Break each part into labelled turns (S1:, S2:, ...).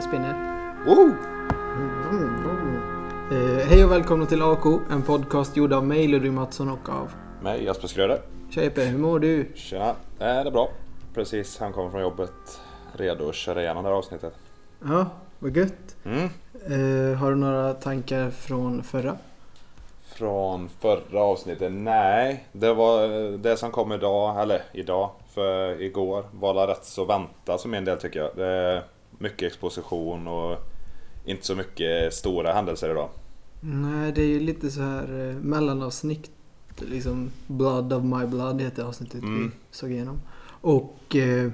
S1: spinner.
S2: Oh!
S1: Eh, hej och välkomna till AK, en podcast gjord av mig Ludvig Mattsson och av
S2: Med Jasper Skröder.
S1: Tja Epe, hur mår du?
S2: Tjena. Äh, det är bra. Precis, han kommer från jobbet. Redo att köra igenom det här avsnittet.
S1: Ja, vad gött.
S2: Mm.
S1: Eh, har du några tankar från förra?
S2: Från förra avsnittet? Nej, det var eh, det som kom idag, eller idag, för igår var det rätt så väntat som en del tycker jag. Det är mycket exposition och inte så mycket stora händelser idag.
S1: Nej, det är ju lite så här eh, mellanavsnitt. Liksom Blood of my blood heter avsnittet vi
S2: Mm.
S1: såg igenom. Och eh,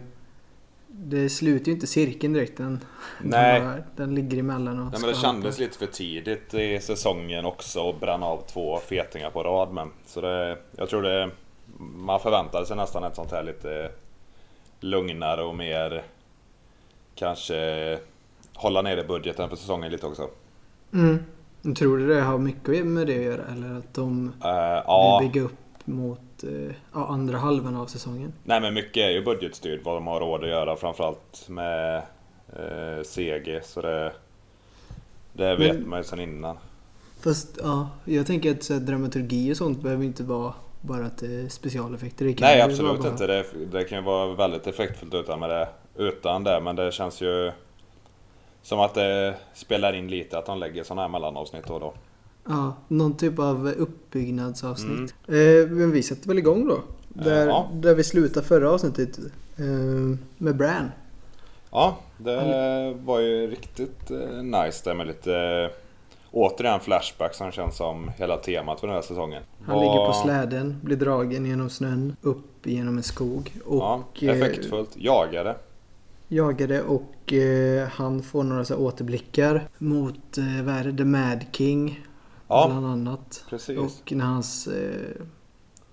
S1: det slutar ju inte cirkeln direkt. Den,
S2: Nej.
S1: Den, här- den ligger emellan och
S2: Nej, men det
S1: skvalpar.
S2: kändes lite för tidigt i säsongen också att bränna av två fetingar på rad med. Så det, jag tror det... Man förväntade sig nästan ett sånt här lite lugnare och mer... Kanske hålla nere budgeten för säsongen lite också.
S1: Mm. Tror du det har mycket med det att göra? Eller att de
S2: Eh, ja,
S1: vill bygga upp mot eh, ja, andra halvan av säsongen?
S2: nej men mycket är ju budgetstyrt vad de har råd att göra framförallt med eh, CG så det... Det vet
S1: Men-
S2: man ju sedan innan.
S1: Fast ja, jag tänker att så här, dramaturgi och sånt behöver inte vara bara att det är specialeffekter. Det kan
S2: Nej
S1: ju
S2: absolut
S1: vara bara-
S2: inte. Det, det kan ju vara väldigt effektfullt utan, med det, utan det. Men det känns ju som att det spelar in lite att de lägger sådana här mellanavsnitt då och då.
S1: Ja, någon typ av uppbyggnadsavsnitt. Eh, men vi sätter väl igång då. Där,
S2: Mm. ja.
S1: där vi slutade förra avsnittet. Eh, med Bran.
S2: Ja, det var ju riktigt eh, nice där med lite eh, återigen flashback som känns som hela temat för den här säsongen.
S1: Han
S2: Var-
S1: ligger på släden, blir dragen genom snön, upp genom en skog.
S2: Ja,
S1: Och eh,
S2: effektfullt. Jagade.
S1: jagade och eh, han får några så här återblickar mot, eh, vad är det, The Mad King.
S2: Ja,
S1: Bland annat.
S2: precis.
S1: Och när hans... Eh,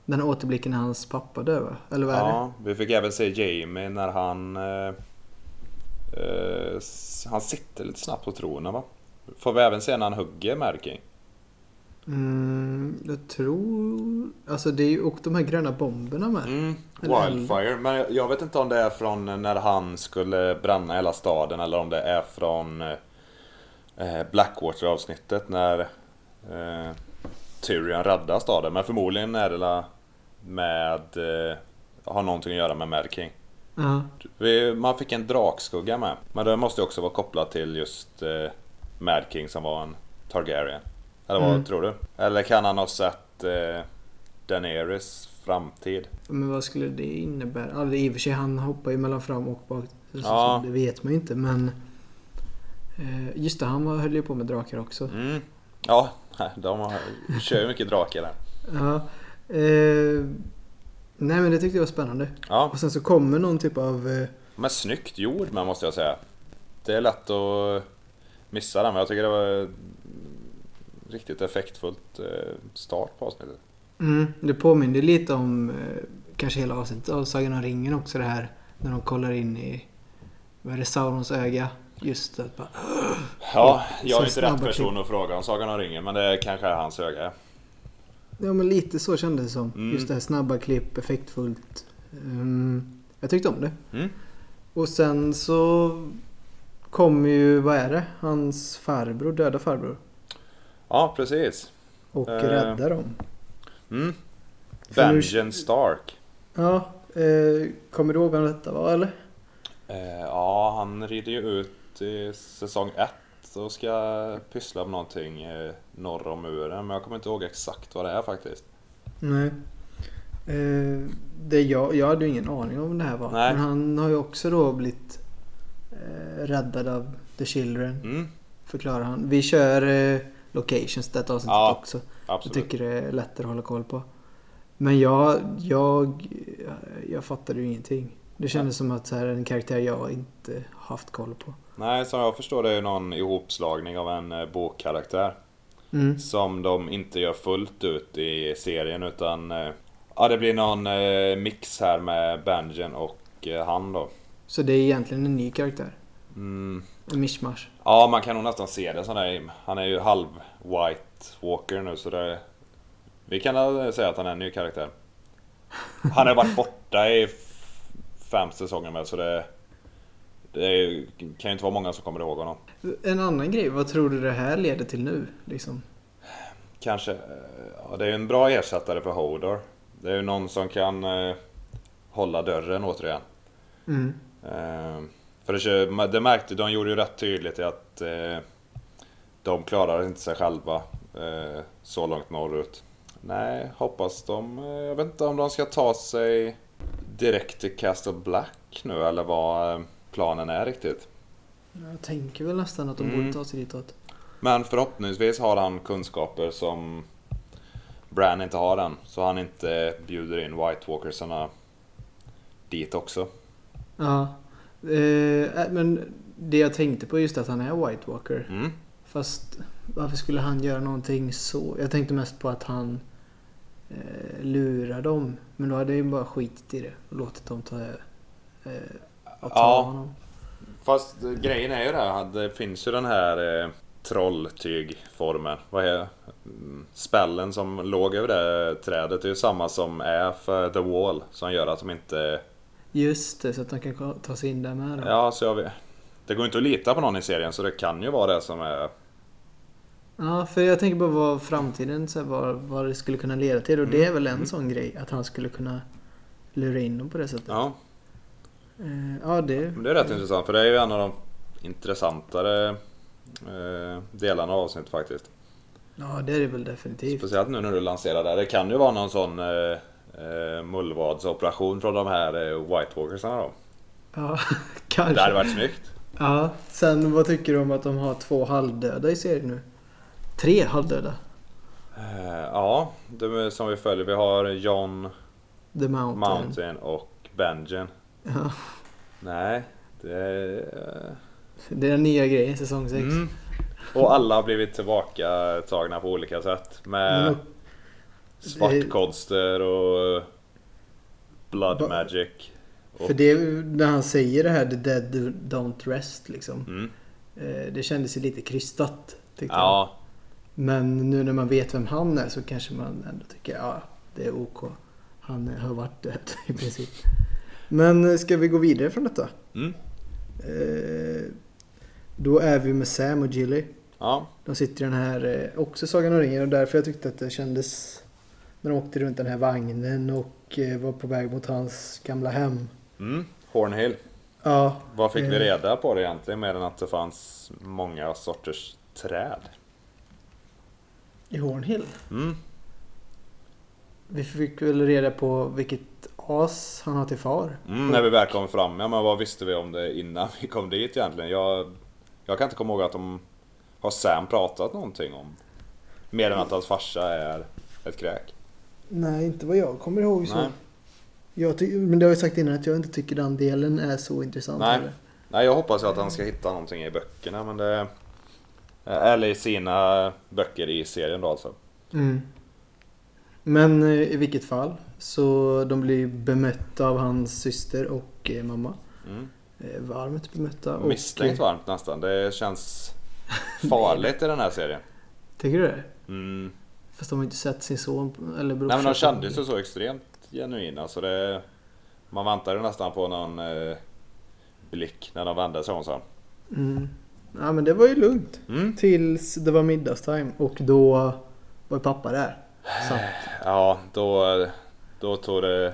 S1: den här återblicken när hans pappa dör va? Eller vad är det?
S2: Ja, vi fick även se Jamie när han... Eh, eh, s- han sitter lite snabbt på tronen va? Får vi även se när han hugger Märking?
S1: Mm, jag tror... Alltså det är ju... Och de här gröna bomberna med.
S2: Mm,
S1: Eller-
S2: wildfire. Men jag- jag vet inte om det är från när han skulle bränna hela staden eller om det är från eh, Blackwater avsnittet när eh, Tyrion räddar staden. Men förmodligen är det la- med... Eh, har någonting att göra med Märking.
S1: Ja.
S2: Vi, man fick en drakskugga med. Men det måste ju också vara kopplat till just eh, Mad King som var en Targaryen. Eller vad
S1: Mm.
S2: tror du? Eller kan han ha sett eh, Daenerys framtid?
S1: Men vad skulle det innebära? Ja, det är i och för sig, han hoppar ju mellan fram och bak. Så, så,
S2: Ja.
S1: så, det vet man ju inte men... Eh, just det, han var- höll ju på med drakar också.
S2: Mm. Ja, de har, kör ju mycket drakar där.
S1: Ja. Eh, nej men det tyckte jag var spännande.
S2: Ja,
S1: Och sen så kommer någon typ av... Eh,
S2: men snyggt gjord med måste jag säga. Det är lätt att missa den men jag tycker det var riktigt effektfullt eh, start på avsnittet.
S1: Mm, det påminner lite om eh, kanske hela avsnittet av Sagan om ringen också det här när de kollar in i vad är det, Saurons öga. Just det, att bara,
S2: Ja, jag
S1: Så
S2: är inte
S1: snabba
S2: rätt person att fråga om Sagan om ringen men det kanske är hans öga.
S1: ja men lite så kändes det som.
S2: Mm.
S1: Just det här snabba klipp, effektfullt. Mm, jag tyckte om det.
S2: Mm.
S1: Och sen så kommer ju, vad är det, hans farbror, döda farbror.
S2: Ja, precis.
S1: Och
S2: Eh.
S1: räddar dem.
S2: Mm.
S1: För nu-
S2: Vengeance Stark.
S1: Ja, eh, kommer du ihåg vem detta var eller?
S2: Eh, ja, han rider ju ut i säsong 1 och ska pyssla med någonting eh, norr om muren. Men jag kommer inte ihåg exakt vad det är faktiskt.
S1: Nej. Eh, det jag, jag hade ju ingen aning om det här var.
S2: Nej.
S1: Men han har ju också då blivit eh, räddad av The Children.
S2: Mm,
S1: Förklarar han. Vi kör eh, locations detta avsnittet
S2: Ja,
S1: också. Jag
S2: absolut.
S1: tycker det är lättare att hålla koll på. Men jag, jag, jag fattade ju ingenting. Det kändes som att så här, en karaktär jag inte haft koll på.
S2: Nej, som jag förstår det är ju någon ihopslagning av en eh, bokkaraktär.
S1: Mm.
S2: Som de inte gör fullt ut i serien utan... Eh, ja, det blir någon eh, mix här med Benjen och eh, han då.
S1: Så det är egentligen en ny karaktär.
S2: Mm.
S1: En mishmash.
S2: Ja, man kan nog nästan se det sån där. Han är ju halv White Walker nu så det... Vi kan väl säga att han är en ny karaktär. Han har varit borta i f- fem säsonger med så det... Det är- kan ju inte vara många som kommer ihåg honom.
S1: En annan grej, vad tror du det här leder till nu? Liksom?
S2: Kanske, eh, ja, det är ju en bra ersättare för Hodor. Det är ju någon som kan eh, hålla dörren återigen.
S1: Mm.
S2: Eh, för det, kö- det märkte de gjorde ju rätt tydligt i att eh, de klarar inte sig själva eh, så långt norrut. Nej, hoppas de. eh, Jag vet inte om de ska ta sig direkt till Castle Black nu eller vad eh, planen är riktigt.
S1: Jag tänker väl nästan att de
S2: Mm.
S1: borde ta sig ditåt.
S2: Men förhoppningsvis har han kunskaper som Bran inte har än. Så han inte bjuder in White Walkersarna dit också.
S1: Ja. Eh, äh, men det jag tänkte på är just att han är White Walker.
S2: Mm.
S1: Fast varför skulle han göra någonting så? Jag tänkte mest på att han eh, lurar dem. Men då hade jag ju bara skitit i det och låtit dem ta, eh, att ta
S2: Ja.
S1: honom.
S2: Fast eh, grejen är ju det här, det finns ju den här eh, trolltygformen. Vad är mm, Spällen som låg över det trädet är ju samma som är för The Wall. Som gör att de inte...
S1: Just det, så att de kan ko- ta sig in där med då.
S2: Ja, så jag vet. Det går inte att lita på någon i serien så det kan ju vara det som är...
S1: Ja, för jag tänker på vad framtiden, så här, vad, vad det skulle kunna leda till. Och det
S2: Mm.
S1: är väl en sån grej, att han skulle kunna lura in dem på det sättet.
S2: Ja,
S1: Eh, ja det...
S2: Men det är rätt intressant för det är ju en av de intressantare eh, delarna av avsnittet faktiskt.
S1: Ja, det är det väl definitivt.
S2: Speciellt nu när du lanserar det. här. Det kan ju vara någon sån eh, eh, mullvadsoperation från de här eh, White Walkersarna då.
S1: Ja,
S2: Det hade
S1: kanske.
S2: varit snyggt.
S1: Ja, sen vad tycker du om att de har två halvdöda i serien nu? Tre halvdöda.
S2: Eh, ja, de är- som vi följer. Vi har John
S1: The Mountain.
S2: Mountain och Benjen.
S1: Ja,
S2: Nej, det är...
S1: det är den nya grejen, säsong 6.
S2: Mm. Och alla har blivit tillbaka tagna på olika sätt.
S1: Men
S2: Med
S1: och-
S2: svartkodster och blood
S1: Ba-
S2: magic. Och,
S1: För det, när han säger det här, the dead do- don't rest liksom.
S2: mm.
S1: Eh, det kändes ju lite krystat. Tyckte jag.
S2: Ja,
S1: Men nu när man vet vem han är så kanske man ändå tycker ja, det är OK. Han har varit död i princip. Men eh, ska vi gå vidare från detta?
S2: Mm.
S1: Eh, då är vi med Sam och Gilly.
S2: ja.
S1: De sitter i den här, eh, också Sagan om ringen och därför jag tyckte att det kändes när de åkte runt den här vagnen och eh, var på väg mot hans gamla hem.
S2: Mm. Hornhill.
S1: Ja,
S2: Vad fick vi
S1: Eh.
S2: reda på det egentligen mer än att det fanns många sorters träd?
S1: i Hornhill.
S2: Mm.
S1: Vi fick väl reda på vilket as han har till far.
S2: Mm, när vi väl kom fram, ja men vad visste vi om det innan vi kom dit egentligen? Jag, jag kan inte komma ihåg att de har Sam pratat någonting om. Mer än att hans farsa är ett kräk.
S1: Nej, inte vad jag kommer ihåg så.
S2: Nej.
S1: Jag ty- men det har jag sagt innan att jag inte tycker den delen är så intressant.
S2: Nej.
S1: heller.
S2: Nej, jag hoppas ju att han ska hitta någonting i böckerna men det... Eller i sina böcker i serien då alltså.
S1: Mm. Men eh, i vilket fall så de blir bemötta av hans syster och eh, mamma.
S2: Mm.
S1: Eh, Varmt bemötta. Och,
S2: Misstänkt
S1: eh,
S2: varmt nästan. Det känns farligt i den här serien.
S1: Tycker du det?
S2: Mm.
S1: Fast de har inte sett sin son eller brorsa.
S2: Nej men de kändes ju så extremt genuina så det... Man väntade ju nästan på någon eh, blick när de vände sig om så.
S1: Mm. Ja men det var ju lugnt.
S2: Mm.
S1: Tills det var middagstime och då var ju pappa där. Så,
S2: Ja, då, då tog det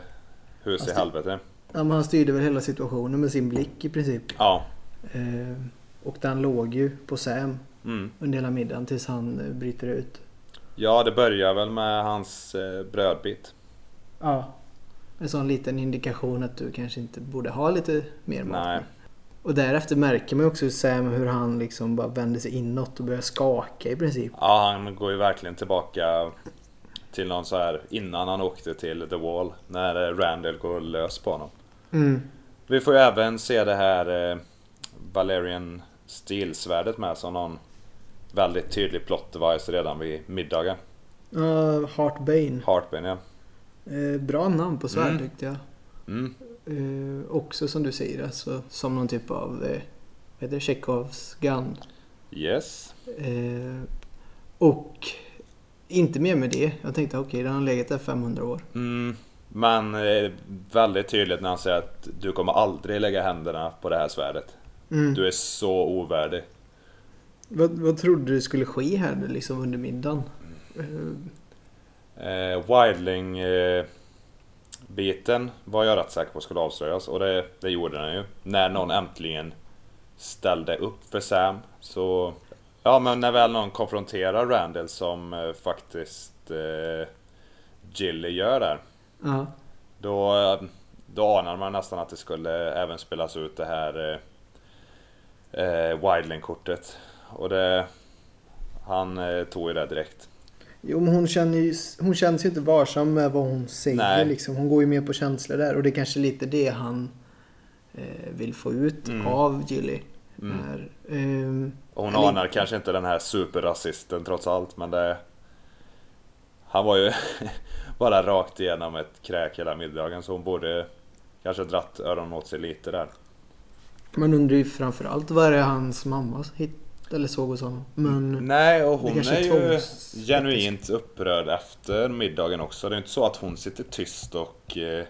S2: hus i
S1: Fast det-
S2: helvete.
S1: ja, men han styrde väl hela situationen med sin blick i princip.
S2: Ja.
S1: Eh, och den låg ju på Sam
S2: Mm.
S1: under hela middagen tills han eh, bryter ut.
S2: Ja, det börjar väl med hans eh, brödbit.
S1: Ja. En sån liten indikation att du kanske inte borde ha lite mer mat.
S2: Nej.
S1: Och därefter märker man ju också hur Sam hur han liksom bara vänder sig inåt och börjar skaka i princip.
S2: Ja, han går ju verkligen tillbaka till någon så här innan han åkte till The Wall. När eh, Randall går lös på honom.
S1: Mm.
S2: Vi får ju även se det här eh, Valerian Steel-svärdet med som någon väldigt tydlig plot device redan vid middagen.
S1: Uh, Heartbane.
S2: Heartbane, ja.
S1: Eh, bra namn på svärd
S2: Mm.
S1: tyckte jag.
S2: Mm.
S1: Eh, också som du säger, alltså, som någon typ av eh, vad heter det, Chekhovs gun.
S2: Yes.
S1: Eh, och inte mer med det. Jag tänkte okej, den har legat där 500 år.
S2: Mm, men eh, väldigt tydligt när han säger att du kommer aldrig lägga händerna på det här svärdet.
S1: Mm.
S2: Du är så ovärdig.
S1: Vad, vad trodde du skulle ske här nu liksom under middagen? Eh,
S2: Eh, Wildling-biten var jag rätt säker på skulle avslöjas och det, det gjorde den ju. När någon äntligen ställde upp för Sam så... Ja men när väl någon konfronterar Randall som eh, faktiskt eh, Jilly gör där.
S1: Ja.
S2: Då, eh, då anade man nästan att det skulle även spelas ut det här eh, eh, Wildling-kortet. Och det... Han eh, tog ju det direkt.
S1: Jo men hon, känner ju, hon känns ju inte varsam med vad hon säger
S2: Nej.
S1: liksom. Hon går ju mer på känslor där och det är kanske lite det han eh, vill få ut
S2: Mm.
S1: av Gilly.
S2: Mm.
S1: Här. Ehm,
S2: Och Hon
S1: Eller-
S2: anar kanske inte den här superrasisten trots allt men det... Han var ju bara rakt igenom ett kräk hela middagen så hon borde kanske dratt öronen åt sig lite där.
S1: man undrar ju framförallt vad är det hans mamma hitt, eller såg hos honom. Men
S2: Nej och
S1: det
S2: hon
S1: kanske
S2: är
S1: är
S2: ju
S1: tvångs-
S2: genuint upprörd efter middagen också. Det är inte så att hon sitter tyst och... eh,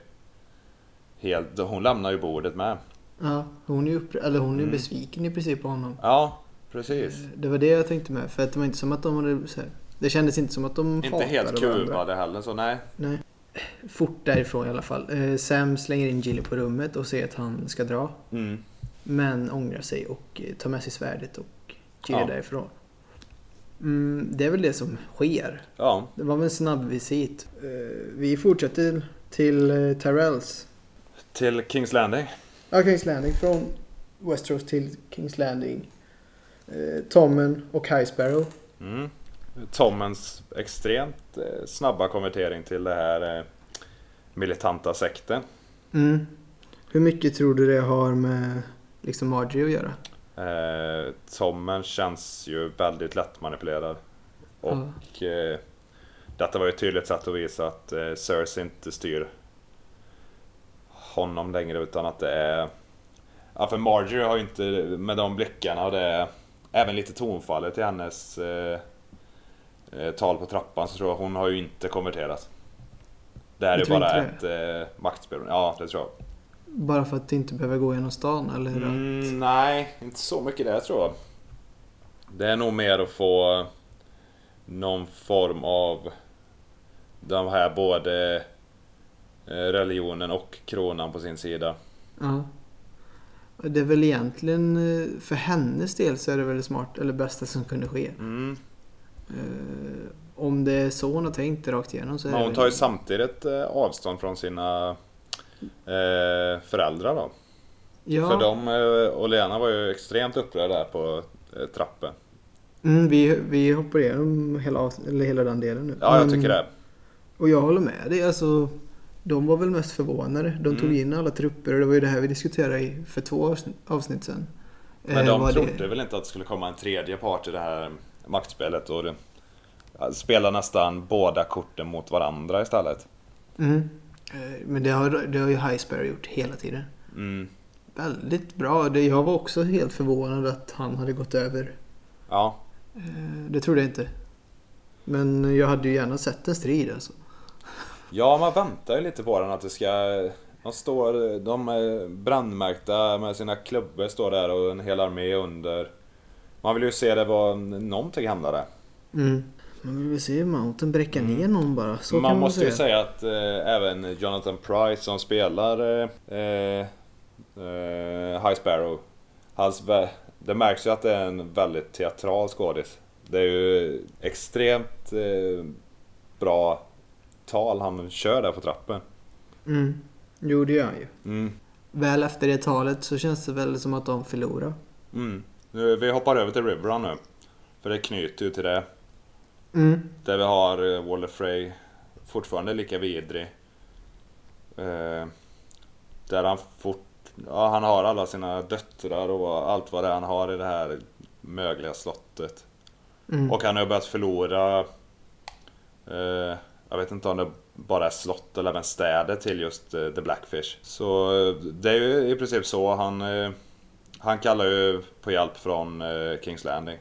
S2: Helt, hon lämnar ju bordet med.
S1: ja, hon är ju uppr- eller hon är
S2: Mm.
S1: besviken i princip på honom.
S2: Ja, precis.
S1: Eh, Det var det jag tänkte med. För att det var inte som att de hade så här, Det kändes inte som att de
S2: Inte helt
S1: hatade varandra.
S2: kuvade heller så nej.
S1: Nej. Fort därifrån i alla fall. Eh, Sam slänger in Gilly på rummet och säger att han ska dra.
S2: Mm.
S1: Men ångrar sig och eh, tar med sig svärdet och Gilly
S2: Ja.
S1: därifrån. Mm, det är väl det som sker.
S2: Ja,
S1: Det var väl en snabb visit. Eh, vi fortsätter till eh, Tyrells.
S2: till Kings Landing.
S1: Ja, Kings Landing. Från Westeros till Kings Landing. Eh, Tommen och High Sparrow.
S2: Mm. Tommens extremt eh, snabba konvertering till det här eh, militanta sekten.
S1: Mm. Hur mycket tror du det har med liksom Marjorie att göra?
S2: Eh, Tommen känns ju väldigt lättmanipulerad. Och eh, detta var ju ett tydligt sätt att visa att eh, Cersei inte styr honom längre utan att det är... Ja för Marjorie har ju inte, med de blickarna och det... Även lite tonfallet i hennes eh, eh, tal på trappan så tror jag hon har ju inte konverterat. Det här är
S1: Du
S2: ju
S1: tror
S2: bara ett
S1: inte
S2: eh, maktspel. Ja, det tror jag.
S1: Bara för att inte behöva gå genom stan eller? att-
S2: Mm, nej, inte så mycket där tror jag. Det är nog mer att få någon form av de här både eh, religionen och kronan på sin sida.
S1: Ja. Det är väl egentligen, eh, för hennes del så är det väl det smart, eller bästa som kunde ske.
S2: Mm.
S1: Eh, om det är så hon har tänkt rakt igenom så är
S2: Men
S1: det
S2: hon
S1: väl-
S2: tar ju samtidigt eh, avstånd från sina eh, föräldrar då.
S1: ja.
S2: För de eh, och Lena var ju extremt upprörda där på eh, trappen.
S1: Mm, vi, vi hoppar igenom hela, avs- eller hela den delen nu. Mm.
S2: Ja, jag
S1: Men-
S2: tycker det.
S1: Och jag håller med dig. Alltså, de var väl mest förvånade. De tog
S2: Mm.
S1: in alla trupper och det var ju det här vi diskuterade i- för två avsn- avsnitt sedan.
S2: Men
S1: Eh,
S2: de
S1: vad
S2: trodde väl inte att det skulle komma en tredje part i det här maktspelet och det- ja, spela nästan båda korten mot varandra istället.
S1: Mm. Eh, Men det har, det har ju Highsparrow gjort hela tiden.
S2: Mm.
S1: Väldigt bra. Det- Jag var också helt förvånad att han hade gått över.
S2: Ja,
S1: Eh, Det trodde jag inte. Men jag hade ju gärna sett en strid alltså.
S2: ja, man väntar ju lite på den att det ska... De står, de är brandmärkta med sina klubbor står där och en hel armé under. Man vill ju se det var någonting hända där.
S1: Mm. Man vill väl se hur Mountain bräcka ner någon bara. Så
S2: Mm. man
S1: kan man
S2: måste
S1: säga.
S2: ju säga att eh, även Jonathan Price som spelar eh, eh, eh, High Sparrow. Hans vä- det märks ju att det är en väldigt teatral skådis. Det är ju extremt eh, bra tal han kör där på trappen.
S1: Mm. Jo, det gör han ju.
S2: Mm.
S1: Väl efter det talet så känns det väl som att de förlorar.
S2: Mm. Nu, vi hoppar över till Riverrun nu. För det knyter ju till det.
S1: Mm.
S2: Där vi har eh, Waller Frey fortfarande lika vidrig. Eh, där han fort... Ja, han har alla sina döttrar och allt vad det är han har i det här mögliga slottet.
S1: Mm.
S2: Och han har börjat förlora... Eh, jag vet inte om det bara är slott eller även städer till just eh, The Blackfish. Så eh, det är ju i princip så han... Eh, han kallar ju på hjälp från eh, Kings Landing.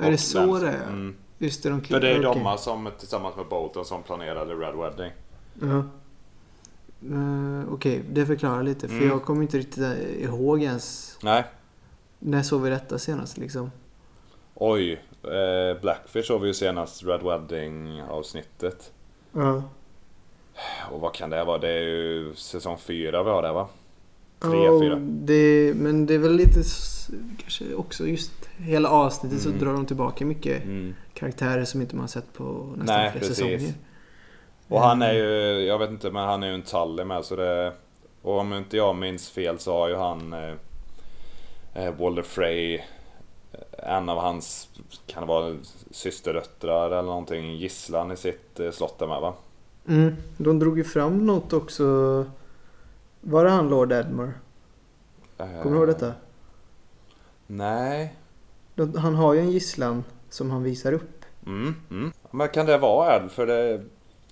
S1: är
S2: Och
S1: det så
S2: vem-
S1: det är?
S2: Mm.
S1: Just det, de
S2: För det är
S1: okej.
S2: de som tillsammans med Bolton som planerade Red Wedding.
S1: Ja. Eh, Okej, det förklarar lite. För
S2: Mm.
S1: jag kommer inte riktigt ihåg eh, ens
S2: Nej.
S1: När såg vi detta senast liksom?
S2: Oj, eh, Blackfish såg vi ju senast Red Wedding avsnittet.
S1: Ja.
S2: Och vad kan det vara? Det är ju säsong fyra vi har där va? Tre,
S1: Oh.
S2: fyra.
S1: Det, men det är väl lite s- kanske också just hela avsnittet
S2: Mm.
S1: så drar de tillbaka mycket
S2: Mm.
S1: karaktärer som inte man sett på nästan
S2: Nej,
S1: flera
S2: precis.
S1: säsonger.
S2: Och han
S1: Mm.
S2: är ju, jag vet inte, men han är ju en tally med så det... Och om inte jag minns fel så har ju han... Eh, eh, Walder Frey... eh, En av hans, kan det vara systerdöttrar eller någonting, gisslan i sitt eh, slott där med va?
S1: Mm. De drog ju fram något också. Var det han Lord Edmure?
S2: Eh,
S1: Kommer du ihåg detta?
S2: Nej.
S1: De- Han har ju en gisslan som han visar upp.
S2: Mm, mm. Men kan det vara Ed? För det,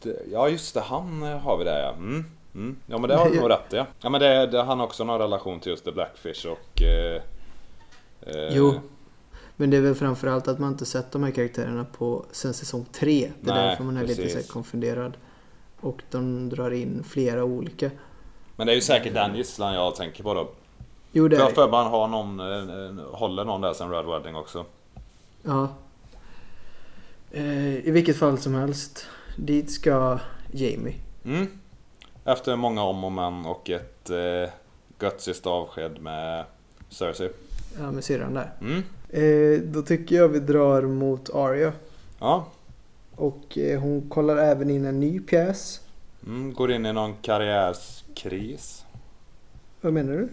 S2: det... Ja just det, han eh, har vi där ja. Mm, mm. Ja men det har du
S1: Nej.
S2: nog rätt i, ja. Ja men det, det, han har också någon relation till just The Blackfish och... Eh, eh,
S1: Jo. Men det är väl framförallt att man inte sett de här karaktärerna på sen säsong tre. Det är
S2: Nej,
S1: därför man är lite
S2: precis.
S1: så här konfunderad. Och de drar in flera olika.
S2: Men det är ju säkert den gisslan jag tänker på då.
S1: Jo, det
S2: Jag
S1: är
S2: har
S1: det.
S2: för mig han har någon, eh, eh, håller någon där sen Red Wedding också.
S1: Ja. Eh, I vilket fall som helst. Dit ska Jamie.
S2: Mm. Efter många om och men och ett eh, gutsigt avsked med Cersei.
S1: Ja, med syrran där.
S2: Mm.
S1: Eh, då tycker jag vi drar mot Arya.
S2: Ja.
S1: Och eh, hon kollar även in en ny pjäs.
S2: Mm. Går in i någon karriärskris.
S1: Vad menar du?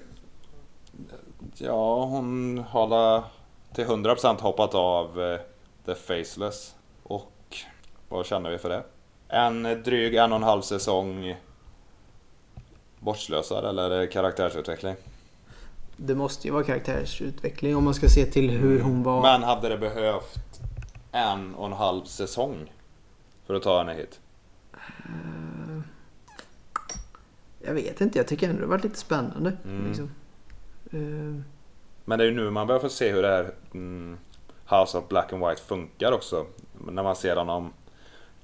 S2: Ja, hon har la- till 100% hoppat av eh, The Faceless. Och vad känner vi för det? En dryg en och en halv säsong bortslösad eller är det karaktärsutveckling?
S1: Det måste ju vara karaktärsutveckling om man ska se till hur hon var.
S2: Men hade det behövt en och en halv säsong för att ta henne hit?
S1: Eh, jag vet inte, jag tycker ändå det har varit lite spännande.
S2: Mm.
S1: Liksom. Eh,
S2: Men det är ju nu man börjar få se hur det här mm, House of Black and White funkar också. När man ser honom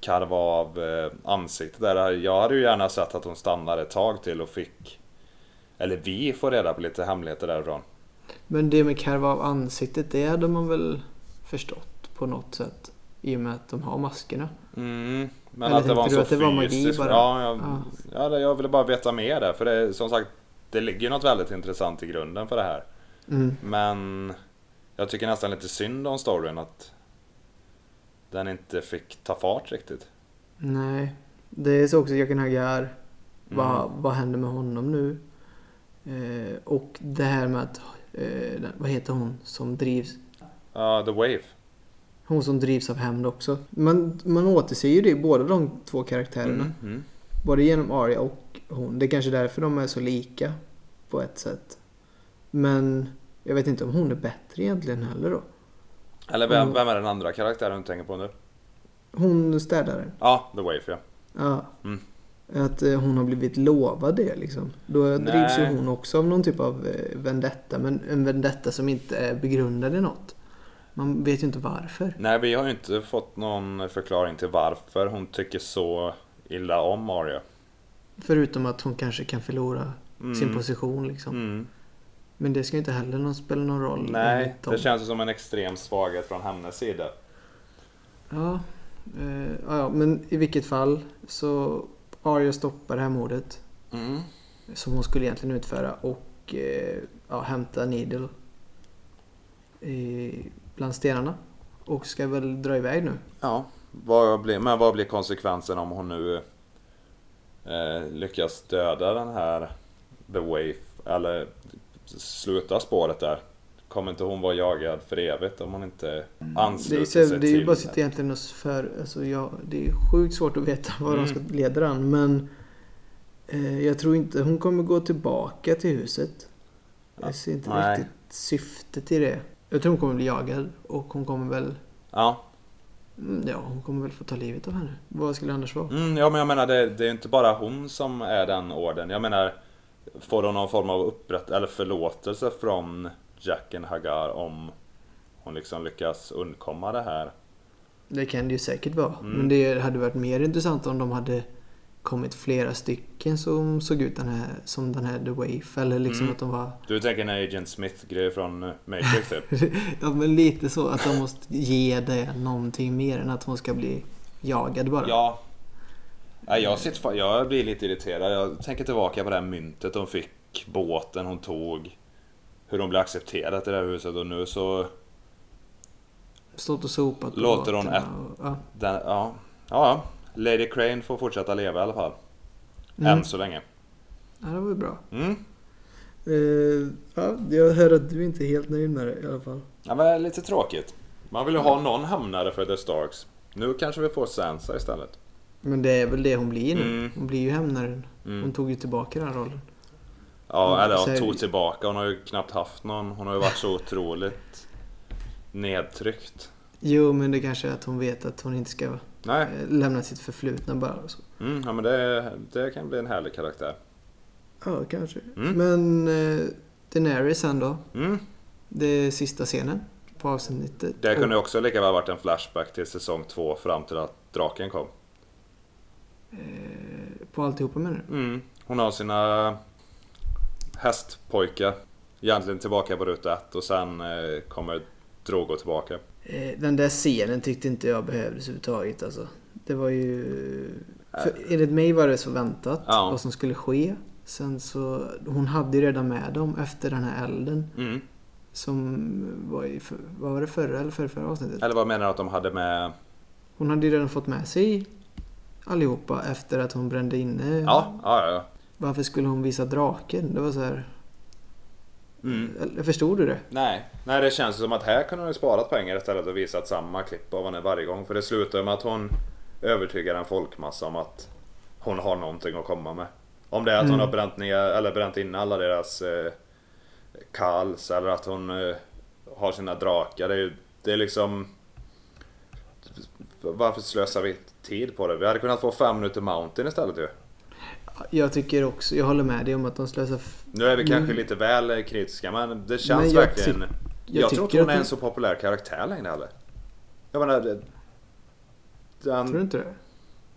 S2: karva av eh, ansiktet där. Jag hade ju gärna sett att hon stannade ett tag till och fick... Eller vi får reda på lite hemligheter därifrån.
S1: men det med karva av ansiktet, det hade man väl förstått på något sätt. I och med att de har maskerna.
S2: Mm, men
S1: Eller
S2: att det var en
S1: tänkte
S2: så
S1: du att det var magi
S2: fysisk...
S1: bara?
S2: Ja, jag,
S1: Ja.
S2: ja. det- jag ville bara veta mer där. För det, är- som sagt, det ligger ju något väldigt intressant i grunden för det här.
S1: Mm.
S2: Men jag tycker nästan lite synd om storyn att den inte fick ta fart riktigt.
S1: Nej. Det är så också Jörgen Hagar. Vad,
S2: Mm.
S1: vad händer med honom nu? Eh, och det här med att... Eh, den- vad heter hon som drivs?
S2: Ja, The Wave.
S1: Hon som drivs av hämnd också. Man, man återser ju det i båda de två karaktärerna.
S2: Mm, mm.
S1: Både genom Arya och hon. Det är kanske därför de är så lika. På ett sätt. Men jag vet inte om hon är bättre egentligen heller då.
S2: Eller vem,
S1: Mm.
S2: vem är den andra karaktären du tänker på nu?
S1: Hon städaren.
S2: Ja, The Wave ja.
S1: Ja.
S2: Mm.
S1: Att eh, hon har blivit lovad det liksom. Då drivs ju
S2: Nej.
S1: hon också av någon typ av eh, vendetta. Men en vendetta som inte är begrundad i något. Man vet ju inte varför.
S2: Nej, vi har ju inte fått någon förklaring till varför hon tycker så illa om Arya.
S1: Förutom att hon kanske kan förlora
S2: Mm.
S1: sin position liksom.
S2: Mm.
S1: Men det ska ju inte heller någon, spela någon roll.
S2: Nej,
S1: enligt dem.
S2: det känns ju som en extrem svaghet från hennes sida.
S1: Ja, eh, ja, ja, men i vilket fall så Arya stoppar det här mordet
S2: Mm.
S1: som hon skulle egentligen utföra och eh, ja, hämtar Needle i, bland stenarna. Och ska väl dra iväg nu.
S2: Ja, vad blir, men vad blir konsekvensen om hon nu eh, lyckas döda den här The Wave? Eller sluta spåret där? Kommer inte hon vara jagad för evigt om hon inte
S1: Mm. Det är, ju
S2: ansluter
S1: så,
S2: sig
S1: det är ju
S2: till
S1: bara sitt egentligen oss för... Alltså jag, det är sjukt svårt att veta vad de ska
S2: Mm.
S1: leda den men eh, jag tror inte hon kommer gå tillbaka till huset.
S2: Ja,
S1: Jag ser inte
S2: nej.
S1: riktigt syftet i det. Jag tror hon kommer bli jagad och hon kommer väl
S2: Ja,
S1: Mm, Ja, hon kommer väl få ta livet av henne. Vad skulle det annars vara?
S2: Mm, ja men jag menar det, det är ju inte bara hon som är den orden. Jag menar Får hon någon form av upprätt eller förlåtelse från Jacken Hagar om hon liksom lyckas undkomma det här?
S1: Det kan det ju säkert vara.
S2: Mm.
S1: Men det hade varit mer intressant om de hade kommit flera stycken som såg ut den här, som den här The Waif. Eller liksom
S2: Mm.
S1: att de var...
S2: Du tänker en Agent Smith-grej från eh, Matrix typ?
S1: ja, men lite så. Att de måste ge det någonting mer än att hon ska bli jagad bara.
S2: Ja. Nej, jag, sitter, fa- jag blir lite irriterad. Jag tänker tillbaka på det här myntet hon fick, båten hon tog. Hur hon blev accepterad i det här huset och nu så...
S1: Stått och sopat på
S2: Låter hon
S1: gatorna och, ja.
S2: Den, ja. ja, ja. Lady Crane får fortsätta leva i alla fall.
S1: Mm.
S2: Än så länge.
S1: ja, det var ju bra.
S2: Mm.
S1: Eh, ja, jag hör att du inte är helt nöjd med det i alla fall.
S2: Ja, men det är lite tråkigt. Man vill ju ha någon hamnare för The Starks. Nu kanske vi får Sansa istället.
S1: Men det är väl det hon blir nu.
S2: Mm.
S1: Hon blir ju hämnaren. Hon
S2: Mm.
S1: tog ju tillbaka den rollen.
S2: Ja, eller
S1: Så är
S2: hon
S1: det ju-
S2: tog tillbaka. Hon har ju knappt haft någon. Hon har ju varit så otroligt nedtryckt.
S1: Jo, men det kanske är att hon vet att hon inte ska
S2: Nej.
S1: eh, lämna sitt förflutna bara. Så.
S2: Mm, ja men det, det kan bli en härlig karaktär.
S1: Ja, kanske.
S2: Mm.
S1: Men eh, Daenerys sen då.
S2: Mm.
S1: Det är sista scenen på avsnittet.
S2: Det kunde ju också lika väl varit en flashback till säsong två fram till att draken kom.
S1: eh, på alltihopa menar du?
S2: Mm. Hon har sina hästpojkar egentligen tillbaka på ruta ett och sen eh, kommer Drogo tillbaka.
S1: Eh, Den där scenen tyckte inte jag behövdes överhuvudtaget alltså. Det var ju... För enligt mig var det så väntat
S2: Äh. Ja.
S1: vad som skulle ske. Sen så... Hon hade ju redan med dem efter den här elden.
S2: Mm.
S1: Som var i... för- Vad var det? Förra eller förra, förra avsnittet?
S2: Eller vad menar du att de hade med?
S1: Hon hade ju redan fått med sig allihopa efter att hon brände inne.
S2: Ja, ja, ja.
S1: Varför skulle hon visa draken? Det var så här...
S2: Mm.
S1: Eller, förstod du det?
S2: Nej. Nej, det känns som att här kunde hon ju sparat pengar istället och visat samma klipp av henne varje gång. För det slutar ju med att hon övertygar en folkmassa om att hon har någonting att komma med. Om det är att hon
S1: Mm.
S2: har bränt, ner, eller bränt in alla deras eh, kals eller att hon eh, har sina drakar. Det är, ju- det är liksom... Varför slösar vi tid på det? Vi hade kunnat få fem minuter Mountain istället ju.
S1: Jag tycker också... Jag håller med dig om att de slösar... f-
S2: Nu är vi kanske
S1: Mm.
S2: lite väl kritiska men det
S1: Men
S2: känns
S1: jag
S2: verkligen... Jag, tror inte
S1: tycker
S2: hon
S1: att
S2: är
S1: de-
S2: en så populär karaktär längre heller. Jag menar... det- Den...
S1: Tror du inte det?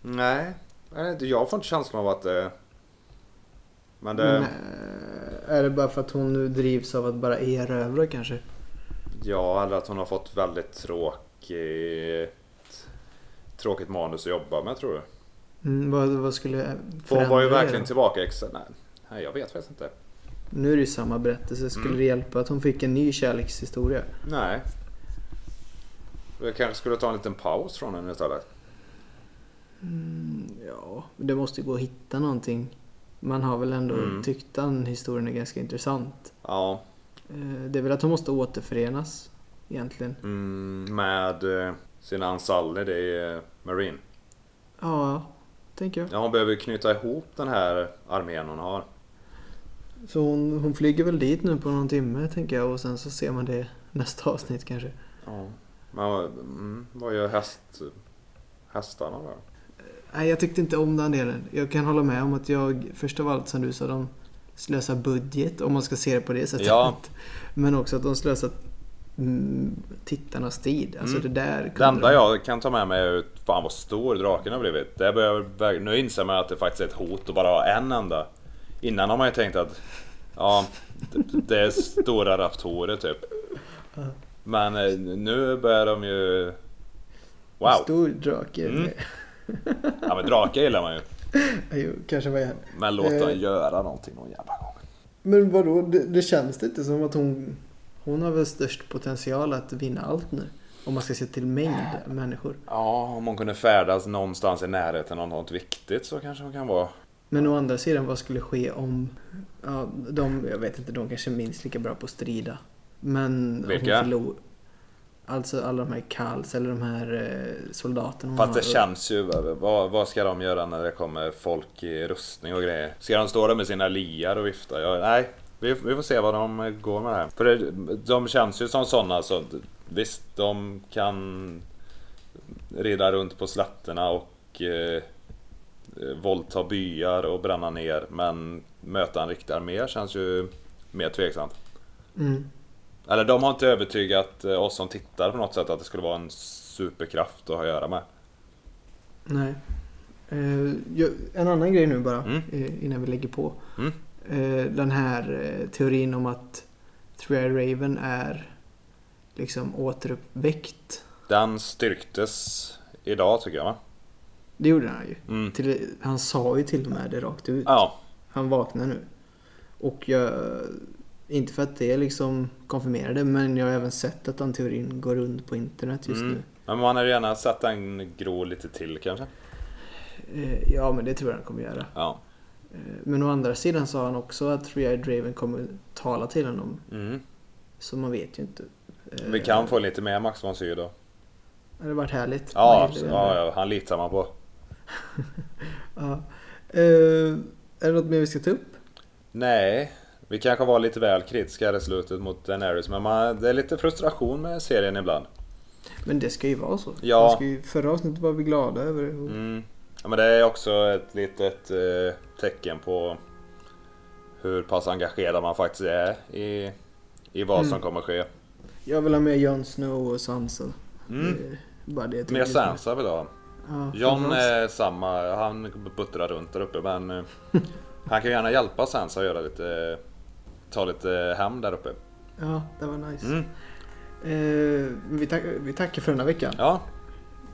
S2: Nej. Jag vet inte, Jag får inte känslan av att det... Men det...
S1: Men, eh, är det bara för att hon nu drivs av att bara erövra kanske?
S2: Ja, eller att hon har fått väldigt tråkigt... Tråkigt manus att jobba med tror du.
S1: Mm, vad, vad skulle
S2: För hon var
S1: förändra
S2: ju
S1: det
S2: verkligen
S1: då?
S2: tillbaka exa... Nej, nej, jag vet faktiskt inte.
S1: Nu är det ju samma berättelse. Skulle
S2: Mm.
S1: det hjälpa att hon fick en ny kärlekshistoria?
S2: Nej. Jag kanske skulle ta en liten paus från henne istället.
S1: Mm, ja, det måste ju gå att hitta någonting. Man har väl ändå
S2: Mm.
S1: tyckt den historien är ganska intressant.
S2: Ja.
S1: Eh, Det är väl att hon måste återförenas egentligen.
S2: Mm, med eh, sina ansaller, det är eh, Marine.
S1: Ja, tänker jag.
S2: Ja, hon behöver knyta ihop den här armén hon har.
S1: Så hon, hon flyger väl dit nu på någon timme tänker jag och sen så ser man det nästa avsnitt kanske.
S2: Ja. Men vad- mm, vad gör häst, hästarna då?
S1: Nej, jag tyckte inte om den delen. Jag kan hålla med om att jag, först av allt som du sa, de slösar budget om man ska se det på det sättet.
S2: Ja.
S1: Men också att de slösar mm, tittarnas tid. Alltså
S2: Mm.
S1: det där
S2: Det
S1: kunde
S2: enda
S1: de...
S2: jag kan ta med mig är ju fan vad stor draken har blivit. Det behöver, verk- nu inser man att det faktiskt är ett hot att bara ha en enda. Innan har man ju tänkt att ja, det, det är stora raptorer typ. Men eh, nu börjar de ju...
S1: En
S2: Wow!
S1: Stor drake.
S2: Mm. Ja men drakar gillar man ju.
S1: Jo, kanske vad jag...
S2: Men låt dem
S1: Eh.
S2: göra någonting någon jävla gång.
S1: Men vadå, det, det känns det inte som att hon... Hon har väl störst potential att vinna allt nu. Om man ska se till mängd människor.
S2: Ja, om hon kunde färdas någonstans i närheten av något viktigt så kanske hon kan vara...
S1: Men å andra sidan, vad skulle ske om... Ja, de, jag vet inte, de kanske är minst lika bra på att strida. Men... hon
S2: Vilka?
S1: förlor- Alltså alla de här Kals eller de här eh, soldaterna hon
S2: Fast det
S1: har.
S2: känns ju... Vad, vad ska de göra när det kommer folk i rustning och grejer? Ska de stå där med sina liar och vifta? Ja, nej, vi, vi får se vad de går med här. För det, de känns ju som sådana så... Visst, de kan rida runt på slätterna och eh, våldta byar och bränna ner. Men möta en riktig armé känns ju mer tveksamt.
S1: Mm.
S2: Eller de har inte övertygat eh, oss som tittar på något sätt att det skulle vara en superkraft att ha att göra med.
S1: Nej. Eh, Eh, jag- En annan grej nu bara
S2: Mm.
S1: eh, innan vi lägger på.
S2: Mm.
S1: Eh, Den här eh, teorin om att Three Raven är liksom återuppväckt.
S2: Den styrktes idag tycker jag va?
S1: Det gjorde han ju.
S2: Mm.
S1: Till, han sa ju till och med det rakt ut.
S2: Ja,
S1: Han vaknar nu. Och jag... Inte för att det liksom konfirmerar det, men jag har även sett att den teorin går runt på internet just
S2: Mm.
S1: nu.
S2: men man hade gärna sett den gro lite till kanske.
S1: Eh, Ja, men det tror jag han kommer göra.
S2: Ja.
S1: Eh, Men å andra sidan sa han också att Three-Eyed Raven kommer tala till honom.
S2: Mm.
S1: Så man vet ju inte. Eh,
S2: Vi kan få lite mer Max von Sydow.
S1: Det hade varit härligt.
S2: Ja,
S1: Man
S2: absolut.
S1: gillar det.
S2: ja, ja, han litar man på.
S1: Ja. Eh, är det något mer vi ska ta upp?
S2: Nej, vi kanske var lite väl kritiska här i slutet mot Daenerys men man, det är lite frustration med serien ibland.
S1: Men det ska ju vara så.
S2: Ja.
S1: Man Ska ju, förra avsnittet var vi glada över det. Och
S2: Mm. Ja, men det är också ett litet eh, tecken på hur pass engagerad man faktiskt är i, i vad som
S1: Mm.
S2: kommer ske.
S1: Jag vill ha med Jon Snow och Sansa.
S2: Mm.
S1: Det är bara det jag tycker
S2: Mer
S1: just nu.
S2: Sansa eh, vill jag ha.
S1: Ja,
S2: John
S1: framförallt-
S2: är samma, han buttrar runt där uppe men eh, han kan gärna hjälpa Sansa att göra lite, ta lite hem där uppe.
S1: Ja, det var nice.
S2: Mm.
S1: Eh, vi, tack, vi tackar för den här veckan.
S2: Ja,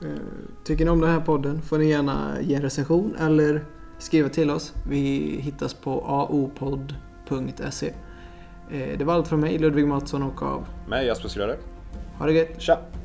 S1: Eh, tycker ni om den här podden får ni gärna ge en recension eller skriva till oss. Vi hittas på aopodd.se. Eh, det var allt från mig, Ludvig Mattsson och av.
S2: med Jasper Skröder.
S1: Ha det gött!
S2: Tja!